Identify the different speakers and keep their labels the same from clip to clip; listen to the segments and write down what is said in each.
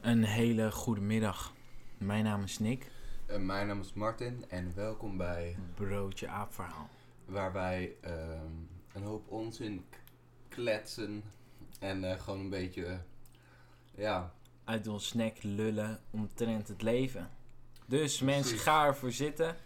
Speaker 1: Een hele goede middag. Mijn naam is Nick,
Speaker 2: Eh, mijn naam is Martin en welkom bij
Speaker 1: broodje aapverhaal.
Speaker 2: waar wij ehm, een hoop onzin k- kletsen en eh, gewoon een beetje, eh, ja,
Speaker 1: Uit ons nek lullen omtrent het leven. Dus mensen,
Speaker 2: Precies.
Speaker 1: ga ervoor zitten.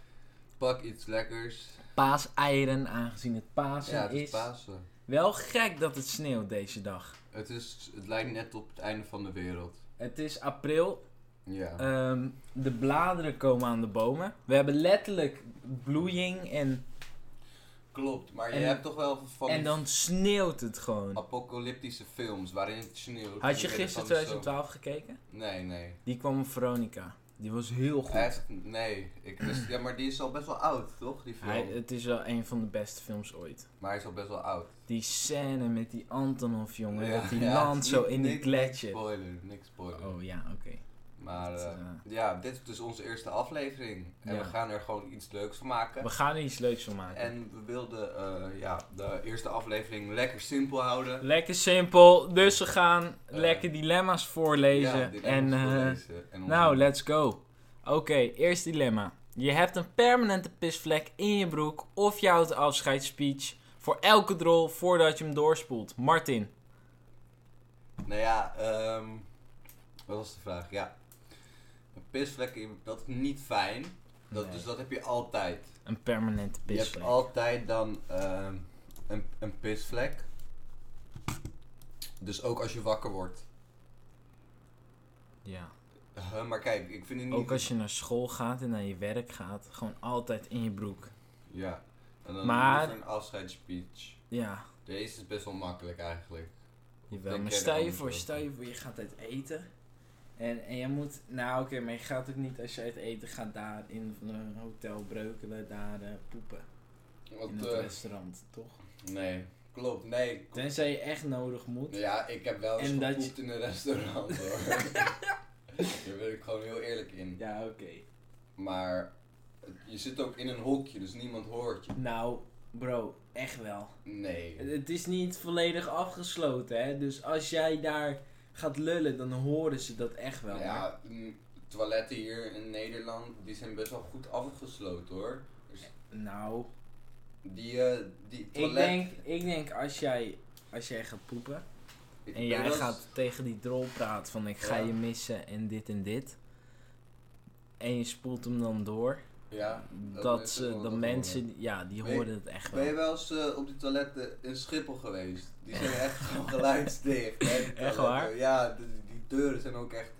Speaker 2: pak iets lekkers.
Speaker 1: Paaseieren, aangezien het Pasen
Speaker 2: ja, het is
Speaker 1: is.
Speaker 2: Pasen.
Speaker 1: Wel gek dat het sneeuwt deze dag.
Speaker 2: Het, is, het lijkt net op het einde van de wereld.
Speaker 1: Het is april,
Speaker 2: Ja,
Speaker 1: Ehm, de bladeren komen aan de bomen. We hebben letterlijk bloeiing en,
Speaker 2: klopt. Maar je
Speaker 1: en-
Speaker 2: hebt toch wel van
Speaker 1: en
Speaker 2: die
Speaker 1: dan sneeuwt het gewoon.
Speaker 2: apocalyptische films waarin het sneeuwt.
Speaker 1: Had je
Speaker 2: vanwege
Speaker 1: gisteren
Speaker 2: van de zomer.
Speaker 1: 2012 gekeken?
Speaker 2: Nee, nee.
Speaker 1: Die kwam op Veronica. Die was heel Oh, goed.
Speaker 2: Echt, nee. Ik, dus, ja, maar die is al best wel oud, toch? Die film.
Speaker 1: Hij, het is wel een van de beste films ooit.
Speaker 2: Maar hij is al best wel oud.
Speaker 1: Die scène met die Antonov, jongen.
Speaker 2: Ja,
Speaker 1: dat die
Speaker 2: ja,
Speaker 1: landt
Speaker 2: niet-
Speaker 1: zo in die
Speaker 2: niet-
Speaker 1: gletsjer.
Speaker 2: Spoiler, niks spoiler.
Speaker 1: Oh ja, oké.
Speaker 2: Maar
Speaker 1: Dat,
Speaker 2: eh,
Speaker 1: eh,
Speaker 2: ja, dit is dus onze eerste aflevering. En
Speaker 1: Ja.
Speaker 2: we gaan er gewoon iets leuks van maken.
Speaker 1: We gaan er iets leuks van maken.
Speaker 2: En we wilden eh, ja, de eerste aflevering lekker simpel houden.
Speaker 1: Lekker simpel. Dus we gaan
Speaker 2: Eh,
Speaker 1: lekker dilemma's voorlezen.
Speaker 2: Ja, dilemma's
Speaker 1: en, eh,
Speaker 2: voorlezen en onze-
Speaker 1: Nou, let's go. Oké, eerst dilemma. Je hebt een permanente pisvlek in je broek of je houdt een afscheidsspeech voor elke drol voordat je hem doorspoelt. Martin,
Speaker 2: Nou ja, ehm, wat was de vraag? Ja. Een pisvlek, in- dat is niet fijn. Dat,
Speaker 1: Nee.
Speaker 2: Dus dat heb je altijd.
Speaker 1: een permanente
Speaker 2: Je hebt
Speaker 1: pisvlek.
Speaker 2: altijd dan ehm, een, een pisvlek. Dus ook als je wakker wordt.
Speaker 1: Ja.
Speaker 2: Huh, maar kijk, ik vind het niet...
Speaker 1: Ook als je naar school gaat en naar je werk gaat, gewoon altijd in je broek.
Speaker 2: Ja. En dan
Speaker 1: Maar-
Speaker 2: liever een afscheidsspeech.
Speaker 1: Ja,
Speaker 2: Deze is best wel makkelijk eigenlijk.
Speaker 1: jawel.
Speaker 2: Denk
Speaker 1: Maar
Speaker 2: jij
Speaker 1: stel
Speaker 2: er
Speaker 1: je
Speaker 2: anders
Speaker 1: voor,
Speaker 2: over?
Speaker 1: stel je voor, je gaat uit eten. En, en je moet, nou oké, maar je gaat ook niet als je uit eten gaat daar in een hotel breukelen, daar eh, poepen. in
Speaker 2: Want,
Speaker 1: het
Speaker 2: eh,
Speaker 1: restaurant, toch?
Speaker 2: nee, klopt, nee.
Speaker 1: Tenzij je echt nodig moet.
Speaker 2: Ja, ik heb wel eens
Speaker 1: En dat
Speaker 2: gepoept in een restaurant hoor. Daar ben ik gewoon heel eerlijk in.
Speaker 1: Ja, oké.
Speaker 2: Maar eh, je zit ook in een hokje, dus niemand hoort je.
Speaker 1: Nou, bro, echt wel. Het-
Speaker 2: Nee.
Speaker 1: Het is niet volledig afgesloten, hè? Dus als jij daar gaat lullen, dan horen ze dat echt wel. hoor.
Speaker 2: Ja, mm, toiletten hier in Nederland, die zijn best wel goed afgesloten hoor. Dus
Speaker 1: Nou,
Speaker 2: die, eh, die
Speaker 1: ik
Speaker 2: toilet...
Speaker 1: denk, ik denk als, jij, als jij gaat poepen
Speaker 2: ik
Speaker 1: en
Speaker 2: ben
Speaker 1: jij
Speaker 2: wel eens-
Speaker 1: gaat tegen die drol praten van ik ga
Speaker 2: Ja.
Speaker 1: je missen en dit en dit. En je spoelt hem dan door.
Speaker 2: Ja,
Speaker 1: Dat,
Speaker 2: mensen
Speaker 1: ze,
Speaker 2: wel
Speaker 1: dat
Speaker 2: dat
Speaker 1: mensen, ja, die
Speaker 2: Ben je-
Speaker 1: horen het echt
Speaker 2: Ben je
Speaker 1: wel.
Speaker 2: wel eens eh, op die toiletten in Schiphol geweest? Die zijn echt gewoon geluidsdicht. hè, die
Speaker 1: Echt
Speaker 2: toiletten.
Speaker 1: waar?
Speaker 2: Ja, die, die deuren zijn ook echt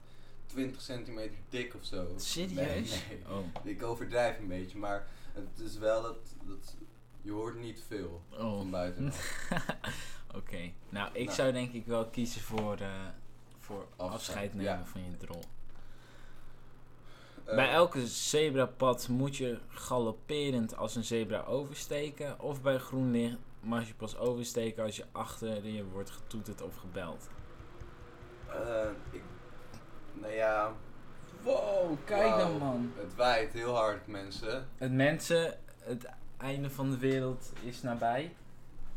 Speaker 2: 20 centimeter dik of zo.
Speaker 1: Serieus?
Speaker 2: Nee,
Speaker 1: Oh.
Speaker 2: nee. Ik overdrijf een beetje, maar het is wel dat, dat je hoort niet veel
Speaker 1: oh.
Speaker 2: van buiten. Eh,
Speaker 1: Oké, nou ik
Speaker 2: Nou.
Speaker 1: zou denk ik wel kiezen voor, eh, voor afscheid,
Speaker 2: Afscheid,
Speaker 1: nemen
Speaker 2: ja.
Speaker 1: van je drol.
Speaker 2: Eh,
Speaker 1: bij elke zebrapad moet je galopperend als een zebra oversteken. Of bij groen licht mag je pas oversteken als je achter je wordt getoeterd of gebeld.
Speaker 2: eh, ik, nou ja,
Speaker 1: Wow,
Speaker 2: wauw. Het waait heel hard, mensen.
Speaker 1: Het mensen, het einde van de wereld is nabij.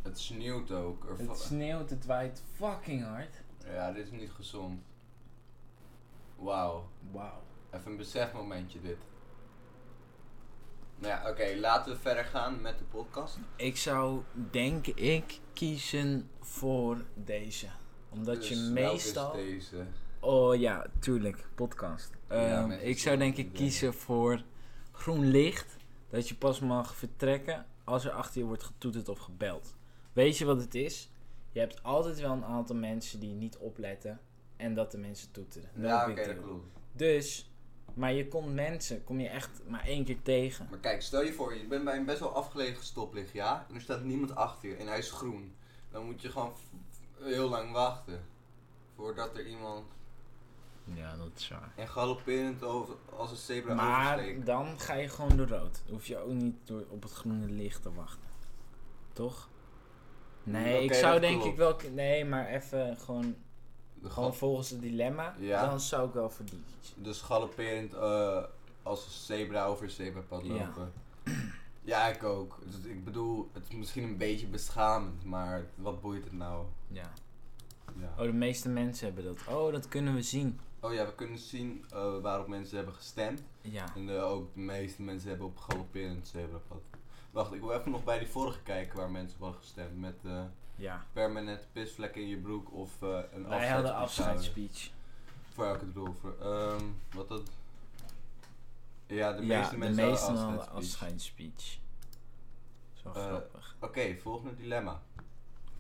Speaker 2: Het sneeuwt ook. Er va-
Speaker 1: Het sneeuwt, het waait fucking hard.
Speaker 2: ja, dit is niet gezond. Wauw.
Speaker 1: Wauw.
Speaker 2: Even een besefmomentje dit. Nou ja, oké, laten we verder gaan met de podcast.
Speaker 1: Ik zou denk ik kiezen voor deze. Omdat
Speaker 2: Dus
Speaker 1: je
Speaker 2: welke is
Speaker 1: meestal.
Speaker 2: deze?
Speaker 1: Oh ja, tuurlijk, podcast.
Speaker 2: Ja,
Speaker 1: Ehm,
Speaker 2: mensen
Speaker 1: ik zou
Speaker 2: snappen
Speaker 1: denk ik
Speaker 2: het
Speaker 1: kiezen voor groen licht. Dat je pas mag vertrekken als er achter je wordt getoeterd of gebeld. Weet je wat het is? Je hebt altijd wel een aantal mensen die niet opletten en dat de mensen toeteren. No
Speaker 2: ja,
Speaker 1: big
Speaker 2: oké, dat
Speaker 1: deal.
Speaker 2: klopt.
Speaker 1: Dus, maar je komt mensen, kom je echt maar één keer tegen.
Speaker 2: Maar kijk, stel je voor, je bent bij een best wel afgelegen stoplicht, ja? En er staat niemand achter je en hij is groen. Dan moet je gewoon f- heel lang wachten. Voordat er iemand
Speaker 1: Ja, dat is waar.
Speaker 2: en galopperend over, als een zebra
Speaker 1: Maar
Speaker 2: oversteekt.
Speaker 1: dan ga je gewoon door rood. Dan hoef je ook niet door op het groene licht te wachten. Toch? Nee,
Speaker 2: Oké,
Speaker 1: ik zou
Speaker 2: dat
Speaker 1: denk
Speaker 2: klopt.
Speaker 1: ik wel. k- Nee, maar even gewoon,
Speaker 2: De
Speaker 1: gewoon
Speaker 2: gal-
Speaker 1: volgens het dilemma.
Speaker 2: Ja.
Speaker 1: Dan zou ik wel voor die kiezen.
Speaker 2: dus galopperend eh, als een zebra over een zebrapad
Speaker 1: Ja.
Speaker 2: lopen. Ja, ik ook. Dus ik bedoel, het is misschien een beetje beschamend, maar wat boeit het nou?
Speaker 1: Ja.
Speaker 2: Ja.
Speaker 1: Oh, de meeste mensen hebben dat. Oh, dat kunnen we zien.
Speaker 2: Oh ja, we kunnen zien eh, waarop mensen hebben gestemd.
Speaker 1: Ja.
Speaker 2: En eh, ook de meeste mensen hebben op galopperend zebrapad. Wacht, ik wil even nog bij die vorige kijken waar mensen op hadden gestemd. Met eh,
Speaker 1: ja.
Speaker 2: permanente pisvlek in je broek of eh, een
Speaker 1: Wij hadden
Speaker 2: op je schouder.
Speaker 1: afscheidsspeech.
Speaker 2: Voor elke doel. Voor, ehm, wat dat? Ja, de
Speaker 1: ja,
Speaker 2: meeste
Speaker 1: de
Speaker 2: mensen
Speaker 1: meesten
Speaker 2: hadden
Speaker 1: hadden
Speaker 2: afscheidsspeech.
Speaker 1: afscheidsspeech. Zo
Speaker 2: Eh,
Speaker 1: grappig.
Speaker 2: Oké, volgende dilemma.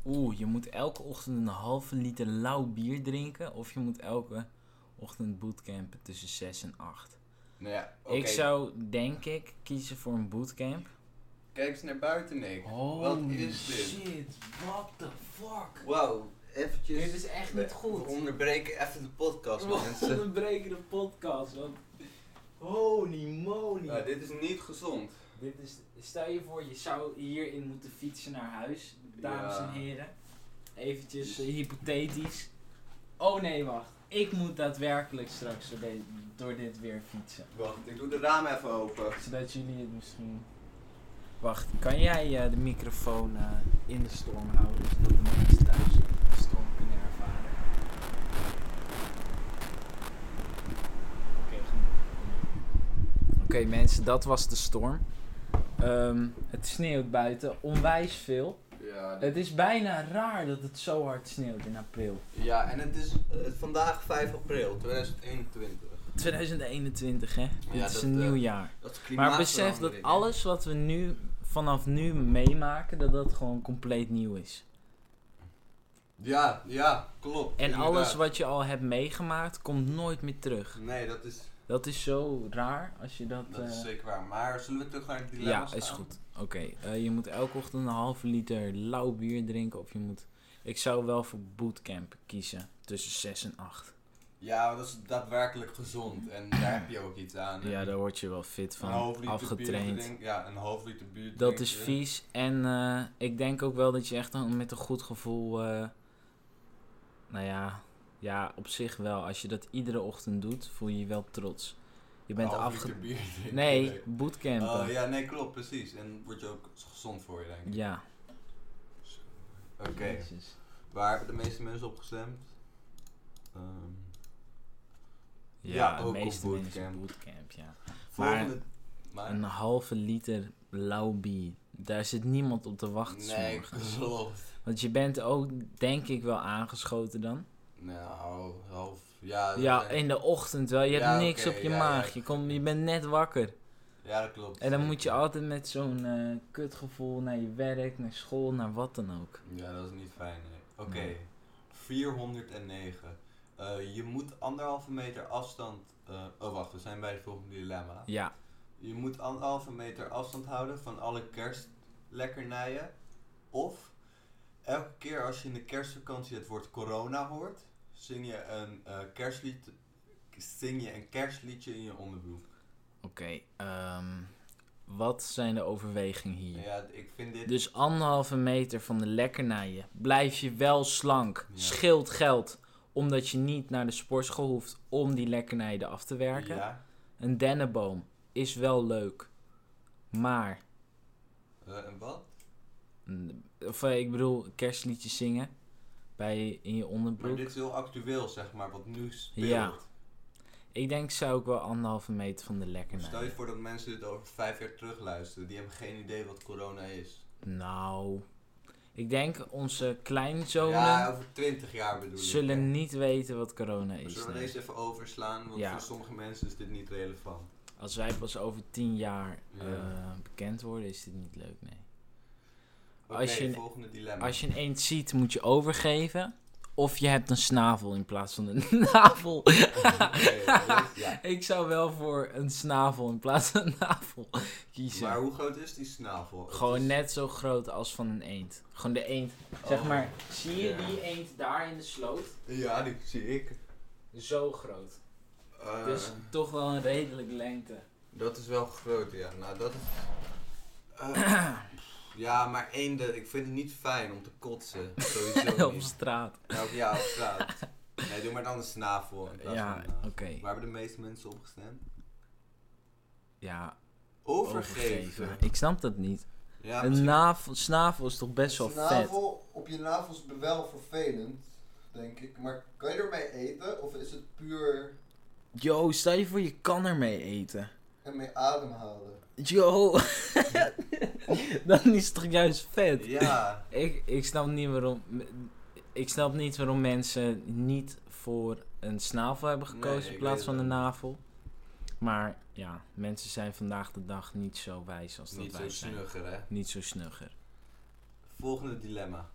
Speaker 1: Oeh, je moet elke ochtend een halve liter lauw bier drinken. Of je moet elke ochtend bootcampen tussen 6 en 8.
Speaker 2: Nou ja, oké.
Speaker 1: Ik zou, denk ik, kiezen voor een bootcamp.
Speaker 2: Kijk eens naar buiten, Nick. wat is dit?
Speaker 1: shit, what the fuck?
Speaker 2: Wauw, eventjes.
Speaker 1: Dit is echt niet goed.
Speaker 2: We onderbreken even de podcast, mensen.
Speaker 1: onderbreken de podcast, want... Holy moly.
Speaker 2: Nou, dit is niet gezond.
Speaker 1: Dit is, stel je voor, je zou hierin moeten fietsen naar huis, dames
Speaker 2: Ja.
Speaker 1: en heren. Eventjes eh, hypothetisch. Oh nee, wacht. Ik moet daadwerkelijk straks door, de- door dit weer fietsen.
Speaker 2: Wacht, ik doe de ramen even open.
Speaker 1: Zodat jullie het misschien... Wacht, kan jij eh, de microfoon eh, in de storm houden, zodat de mensen thuis de storm kunnen ervaren? Oké, genoeg. Oké, mensen, dat was de storm. Ehm, het sneeuwt buiten onwijs veel.
Speaker 2: Ja, dit-
Speaker 1: Het is bijna raar dat het zo hard sneeuwt in april.
Speaker 2: ja en het is eh, vandaag 5 april 2021.
Speaker 1: 2021, hè? Dit
Speaker 2: Ja,
Speaker 1: is
Speaker 2: dat,
Speaker 1: een
Speaker 2: eh,
Speaker 1: nieuw jaar.
Speaker 2: Dat is
Speaker 1: Maar besef dat
Speaker 2: klimaatverandering, hè.
Speaker 1: alles wat we nu vanaf nu meemaken, dat dat gewoon compleet nieuw is.
Speaker 2: Ja, ja, klopt.
Speaker 1: En alles
Speaker 2: inderdaad.
Speaker 1: wat je al hebt meegemaakt, komt nooit meer terug.
Speaker 2: Nee, dat is,
Speaker 1: Dat is zo raar als je dat.
Speaker 2: dat is
Speaker 1: eh,
Speaker 2: zeker waar. Maar zullen we terug naar het dilemma
Speaker 1: ja, is
Speaker 2: gaan?
Speaker 1: goed. Oké, eh, je moet elke ochtend een halve liter lauw bier drinken of je moet. Ik zou wel voor bootcamp kiezen tussen 6 en 8.
Speaker 2: Ja, maar dat is daadwerkelijk gezond. En daar heb je ook iets aan.
Speaker 1: Ja, daar word je wel fit
Speaker 2: Een half
Speaker 1: van.
Speaker 2: liter bier
Speaker 1: Afgetraind.
Speaker 2: drink- ja, een half liter bier
Speaker 1: Dat is
Speaker 2: drinken.
Speaker 1: vies. En eh, ik denk ook wel dat je echt een- met een goed gevoel. eh, nou ja, ja, op zich wel. Als je dat iedere ochtend doet, voel je je wel trots. Je bent
Speaker 2: Een half
Speaker 1: afge.
Speaker 2: liter bier drinken,
Speaker 1: Nee, bootcampen.
Speaker 2: Oh
Speaker 1: ja.
Speaker 2: ja, nee, klopt, precies. En word je ook gezond voor je, denk ik. Oké,
Speaker 1: Jezus.
Speaker 2: waar hebben de meeste mensen op gestemd? Ehm,
Speaker 1: Ja,
Speaker 2: Ja,
Speaker 1: de
Speaker 2: ook op
Speaker 1: meeste
Speaker 2: bootcamp. Ah.
Speaker 1: mensen bootcamp, ja.
Speaker 2: volgende. Maar,
Speaker 1: Een halve liter lauw bier. Daar zit niemand op te wachten.
Speaker 2: nee,
Speaker 1: s'morgens.
Speaker 2: klopt.
Speaker 1: Want je bent ook, denk ik, wel aangeschoten dan.
Speaker 2: Nou, half. Ja, dat
Speaker 1: Ja,
Speaker 2: zijn-
Speaker 1: in de ochtend wel. Je hebt
Speaker 2: Ja,
Speaker 1: niks
Speaker 2: oké,
Speaker 1: op je
Speaker 2: ja,
Speaker 1: maag.
Speaker 2: ja.
Speaker 1: Je, komt- je bent net wakker.
Speaker 2: ja, dat klopt.
Speaker 1: En dan moet je altijd met zo'n eh, kutgevoel naar je werk, naar school, naar wat dan ook.
Speaker 2: Ja, dat is niet fijn. nee. Oké,
Speaker 1: Nee.
Speaker 2: 409. Eh, je moet anderhalve meter afstand. eh, oh, wacht, we zijn bij het volgende dilemma.
Speaker 1: Ja,
Speaker 2: Je moet anderhalve meter afstand houden van alle kerstlekkernijen. Of elke keer als je in de kerstvakantie het woord corona hoort, zing je een, eh, kerstlied, zing je een kerstliedje in je onderbroek.
Speaker 1: oké. ehm, wat zijn de overwegingen hier?
Speaker 2: Ja, ik vind dit.
Speaker 1: Dus anderhalve meter van de lekkernijen. Blijf je wel slank.
Speaker 2: Ja.
Speaker 1: Scheelt geld. Omdat je niet naar de sportschool hoeft om die lekkernijen af te werken.
Speaker 2: Ja,
Speaker 1: Een dennenboom is wel leuk. Maar,
Speaker 2: eh, en wat?
Speaker 1: mm, of eh, ik bedoel, kerstliedjes zingen. Bij, in je
Speaker 2: Maar
Speaker 1: onderbroek.
Speaker 2: dit is heel actueel, zeg maar, wat nu speelt.
Speaker 1: Ja. Ik denk zou ik wel anderhalve meter van de lekkernijen.
Speaker 2: Stel je voor dat mensen dit over vijf jaar terugluisteren. Die hebben geen idee wat corona is.
Speaker 1: Nou, ik denk onze kleinzonen
Speaker 2: Ja, over twintig jaar bedoel ik.
Speaker 1: zullen
Speaker 2: hè.
Speaker 1: niet weten wat corona is.
Speaker 2: Zullen we
Speaker 1: nee.
Speaker 2: deze even overslaan? Want
Speaker 1: Ja.
Speaker 2: voor sommige mensen is dit niet relevant.
Speaker 1: Als wij pas over tien jaar
Speaker 2: Ja.
Speaker 1: eh, bekend worden, is dit niet leuk, nee.
Speaker 2: Oké,
Speaker 1: Als je-
Speaker 2: volgende dilemma.
Speaker 1: Als je een eend ziet, moet je overgeven. Of je hebt een snavel in plaats van een navel.
Speaker 2: Oké, dat is- ja.
Speaker 1: Ik zou wel voor een snavel in plaats van een navel kiezen.
Speaker 2: Maar hoe groot is die snavel? Het
Speaker 1: Gewoon
Speaker 2: is-
Speaker 1: net zo groot als van een eend. Gewoon de eend. Zeg
Speaker 2: Oh,
Speaker 1: maar, zie je
Speaker 2: ja.
Speaker 1: die eend daar in de sloot?
Speaker 2: Ja, die zie ik.
Speaker 1: Zo groot.
Speaker 2: Eh,
Speaker 1: Dus toch wel een redelijke lengte.
Speaker 2: Dat is wel groot, ja. Nou, dat is... Eh, ja, maar eenden, ik vind het niet fijn om te kotsen. Sowieso
Speaker 1: Op
Speaker 2: niet.
Speaker 1: straat.
Speaker 2: Nou, ja, op straat. Nee, doe maar dan de snavel in plaats
Speaker 1: Ja,
Speaker 2: van de navel.
Speaker 1: oké.
Speaker 2: Waar hebben de meeste mensen op gestemd?
Speaker 1: Ja,
Speaker 2: Overgeven.
Speaker 1: Ik snap dat niet.
Speaker 2: Ja,
Speaker 1: een
Speaker 2: misschien-
Speaker 1: navel, snavel is toch best wel vet?
Speaker 2: Snavel op je navels is wel vervelend.
Speaker 3: denk ik. Maar kan je ermee eten? Of is het puur
Speaker 1: Yo, stel je voor je kan ermee eten.
Speaker 3: ermee ademhalen?
Speaker 1: Yo, dan is het toch juist vet.
Speaker 2: Ja,
Speaker 1: Ik, ik snap niet waarom. Ik snap niet waarom mensen niet voor een snavel hebben
Speaker 2: Nee,
Speaker 1: gekozen
Speaker 2: ik
Speaker 1: in plaats
Speaker 2: weet
Speaker 1: van
Speaker 2: het
Speaker 1: een
Speaker 2: ook.
Speaker 1: navel. Maar ja, mensen zijn vandaag de dag niet zo wijs als dat
Speaker 2: niet zo
Speaker 1: wij zijn.
Speaker 2: snugger, hè.
Speaker 1: Niet zo snugger.
Speaker 2: Volgende dilemma.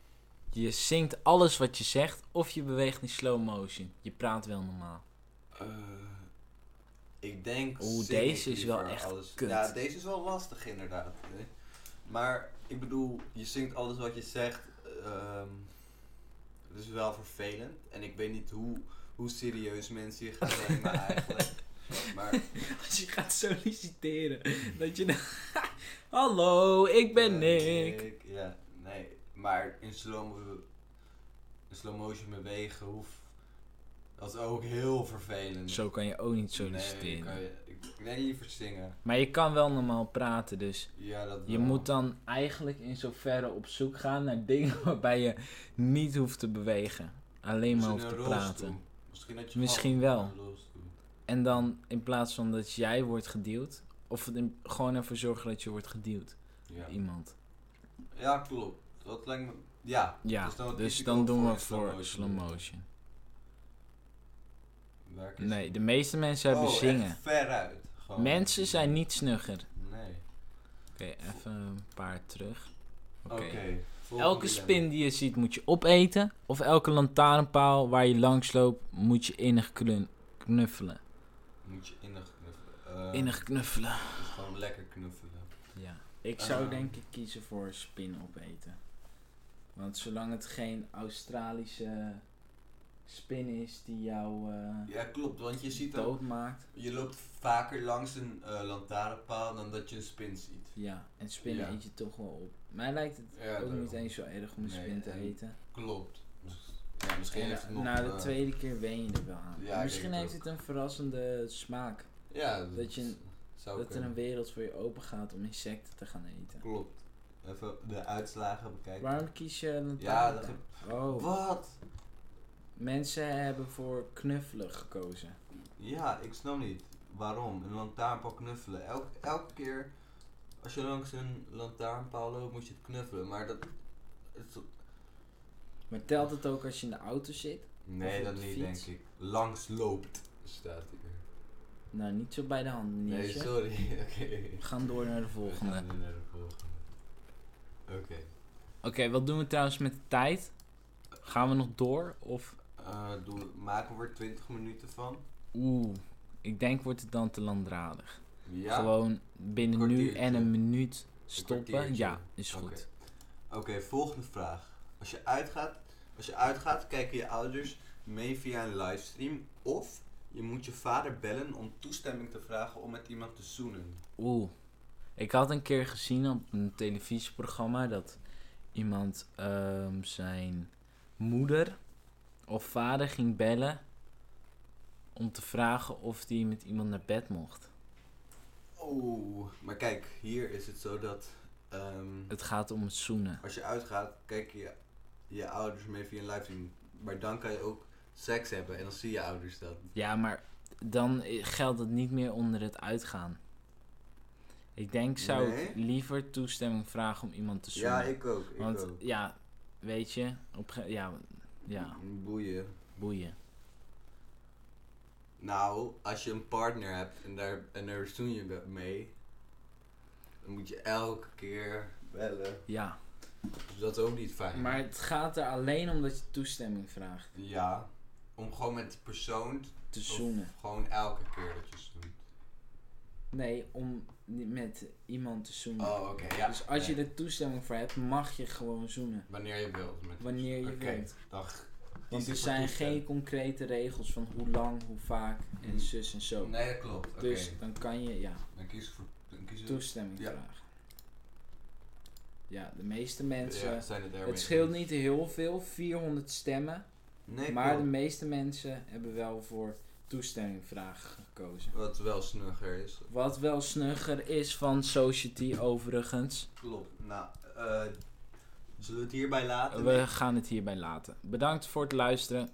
Speaker 1: Je zingt alles wat je zegt of je beweegt in slow motion. Je praat wel normaal.
Speaker 2: Eh, ik denk.
Speaker 1: Oeh,
Speaker 2: zing ik
Speaker 1: deze is wel
Speaker 2: liever
Speaker 1: echt
Speaker 2: alles.
Speaker 1: kut.
Speaker 2: Ja, deze is wel lastig inderdaad. hè. Maar ik bedoel, je zingt alles wat je zegt. ehm het is wel vervelend. En ik weet niet hoe, hoe serieus mensen je gaan nemen eigenlijk. Maar
Speaker 1: Als je gaat solliciteren, dat je dan... Hallo, ik ben
Speaker 2: eh,
Speaker 1: Nick.
Speaker 2: Ja, nee. Maar in slow, in slow motion bewegen hoeft. Dat is ook heel vervelend.
Speaker 1: Zo kan je ook niet
Speaker 2: Nee,
Speaker 1: solliciteren.
Speaker 2: kan je- ik, ik denk liever zingen.
Speaker 1: Maar je kan wel normaal praten, dus...
Speaker 2: Ja, dat
Speaker 1: Je
Speaker 2: wel.
Speaker 1: moet dan eigenlijk in zoverre op zoek gaan naar dingen waarbij je niet hoeft te bewegen. Alleen maar
Speaker 2: Misschien
Speaker 1: hoeft te
Speaker 2: een
Speaker 1: praten.
Speaker 2: rolstoel. Misschien, dat je
Speaker 1: Misschien
Speaker 2: valt
Speaker 1: wel.
Speaker 2: met een rolstoel.
Speaker 1: En dan in plaats van dat jij wordt geduwd, of in- gewoon ervoor zorgen dat je wordt geduwd.
Speaker 2: Ja.
Speaker 1: Iemand.
Speaker 2: ja, klopt. Dat lijkt me... Ja.
Speaker 1: Ja, dus dan,
Speaker 2: kies ik ook
Speaker 1: doen we
Speaker 2: een
Speaker 1: voor slow motion.
Speaker 2: Werk is-
Speaker 1: Nee, de meeste mensen hebben
Speaker 2: Oh, echt Oh,
Speaker 1: zingen.
Speaker 2: veruit. Gewoon.
Speaker 1: Mensen zijn niet snugger.
Speaker 2: Nee.
Speaker 1: Oké, even een paar terug. Oké.
Speaker 2: Oké. volgende
Speaker 1: Elke
Speaker 2: dilemma.
Speaker 1: spin die je ziet moet je opeten. Of elke lantaarnpaal waar je langs loopt moet je innig klun- knuffelen.
Speaker 2: Moet je innig knuffelen. Eh,
Speaker 1: Innig knuffelen.
Speaker 2: dus gewoon lekker knuffelen.
Speaker 1: Ja. Ik zou
Speaker 2: Ehm.
Speaker 1: denk ik kiezen voor spin opeten. Want zolang het geen Australische spin is die jou eh
Speaker 2: Ja, klopt. Want je ziet ook...
Speaker 1: doodmaakt.
Speaker 2: Je loopt vaker langs een eh, lantaarnpaal dan dat je een spin ziet.
Speaker 1: Ja, en spin
Speaker 2: Ja.
Speaker 1: eet je toch wel op. Mij lijkt het
Speaker 2: Ja,
Speaker 1: ook
Speaker 2: daarom.
Speaker 1: niet eens zo erg om een
Speaker 2: Nee,
Speaker 1: spin te
Speaker 2: en
Speaker 1: eten.
Speaker 2: Klopt. Ja, misschien
Speaker 1: En
Speaker 2: heeft het nog...
Speaker 1: na de
Speaker 2: eh,
Speaker 1: tweede keer wen je er wel aan.
Speaker 2: Ja, ik
Speaker 1: Misschien
Speaker 2: denk
Speaker 1: heeft
Speaker 2: het
Speaker 1: het een verrassende smaak.
Speaker 2: Ja,
Speaker 1: Dat je-
Speaker 2: zou
Speaker 1: dat er
Speaker 2: kunnen.
Speaker 1: een wereld voor je open gaat om insecten te gaan eten.
Speaker 2: Klopt. Even de uitslagen bekijken.
Speaker 1: Waarom kies je een
Speaker 2: Ja,
Speaker 1: taart
Speaker 2: dat
Speaker 1: dan? Oh,
Speaker 2: Wat?
Speaker 1: mensen hebben voor knuffelen gekozen.
Speaker 2: Ja, ik snap niet. Waarom? Een lantaarnpaal knuffelen. Elk, elke keer als je langs een lantaarnpaal loopt, moet je het knuffelen. Maar dat... het-
Speaker 1: Maar telt het ook als je in de auto zit?
Speaker 2: nee,
Speaker 1: Of op
Speaker 2: dat
Speaker 1: de
Speaker 2: niet, denk
Speaker 1: fiets.
Speaker 2: ik. Langs loopt, staat hier.
Speaker 1: Nou, niet zo bij de hand,
Speaker 2: Nee,
Speaker 1: meneertje.
Speaker 2: sorry. Oké.
Speaker 1: We gaan door naar de volgende.
Speaker 2: We gaan
Speaker 1: Oké,
Speaker 2: nu naar de volgende. Oké.
Speaker 1: wat doen we trouwens met de tijd? Gaan we nog door? Of,
Speaker 2: Eh, doe- maken we er 20 minuten van?
Speaker 1: oeh, ik denk wordt het dan te landradig.
Speaker 2: Ja.
Speaker 1: Gewoon binnen nu
Speaker 2: Kwartiertje.
Speaker 1: en een minuut stoppen.
Speaker 2: kwartiertje.
Speaker 1: Ja, is goed.
Speaker 2: Oké. Oké, volgende vraag. Als je, uitgaat, als je uitgaat, kijken je ouders mee via een livestream. Of je moet je vader bellen om toestemming te vragen om met iemand te zoenen.
Speaker 1: Oeh. Ik had een keer gezien op een televisieprogramma dat iemand ehm, zijn moeder of vader ging bellen om te vragen of hij met iemand naar bed mocht.
Speaker 2: Oeh, maar kijk, hier is het zo dat ehm,
Speaker 1: Het gaat om het zoenen.
Speaker 2: als je uitgaat, kijken je, je ouders mee via een livestream. Maar dan kan je ook seks hebben en dan zie je ouders dat.
Speaker 1: Ja, maar dan i- geldt het niet meer onder het uitgaan. Ik denk zou ik
Speaker 2: Nee?
Speaker 1: liever toestemming vragen om iemand te zoenen.
Speaker 2: Ja, ik ook. Ik
Speaker 1: Want
Speaker 2: ook.
Speaker 1: ja, weet je, op ge- ja, ja,
Speaker 2: Boeien.
Speaker 1: boeien.
Speaker 2: Nou, als je een partner hebt en daar, en daar zoen je be- mee, dan moet je elke keer bellen.
Speaker 1: Ja.
Speaker 2: Dus dat is ook niet fijn.
Speaker 1: Maar het gaat er alleen om dat je toestemming vraagt.
Speaker 2: Ja, om gewoon met die persoon te
Speaker 1: Te zoenen.
Speaker 2: Gewoon elke keer dat je zoent.
Speaker 1: Nee, om niet met iemand te zoenen.
Speaker 2: Oh, oké, ja.
Speaker 1: dus als
Speaker 2: nee.
Speaker 1: je er toestemming voor hebt, mag je gewoon zoenen.
Speaker 2: Wanneer je wilt. Met
Speaker 1: Wanneer je
Speaker 2: Oké,
Speaker 1: wilt.
Speaker 2: dan g-
Speaker 1: Want
Speaker 2: kies
Speaker 1: er
Speaker 2: ik voor
Speaker 1: zijn
Speaker 2: toestemming.
Speaker 1: geen concrete regels van hoe lang, hoe vaak en
Speaker 2: Hmm.
Speaker 1: zus en zo.
Speaker 2: Nee, dat klopt. Oké,
Speaker 1: Dus dan kan je ja,
Speaker 2: dan kies ik voor... Dan kies ik...
Speaker 1: toestemming
Speaker 2: Ja.
Speaker 1: vragen. Ja, de meeste mensen.
Speaker 2: Ja, zijn het daarmee
Speaker 1: het scheelt
Speaker 2: eens.
Speaker 1: niet heel veel, 400 stemmen.
Speaker 2: Nee,
Speaker 1: maar de
Speaker 2: klopt.
Speaker 1: meeste mensen hebben wel voor toestemming vragen gekozen.
Speaker 2: Wat wel snugger is.
Speaker 1: Wat wel snugger is van Society overigens.
Speaker 2: Klopt. Nou, eh Zullen we het hierbij laten?
Speaker 1: We gaan het hierbij laten. Bedankt voor het luisteren.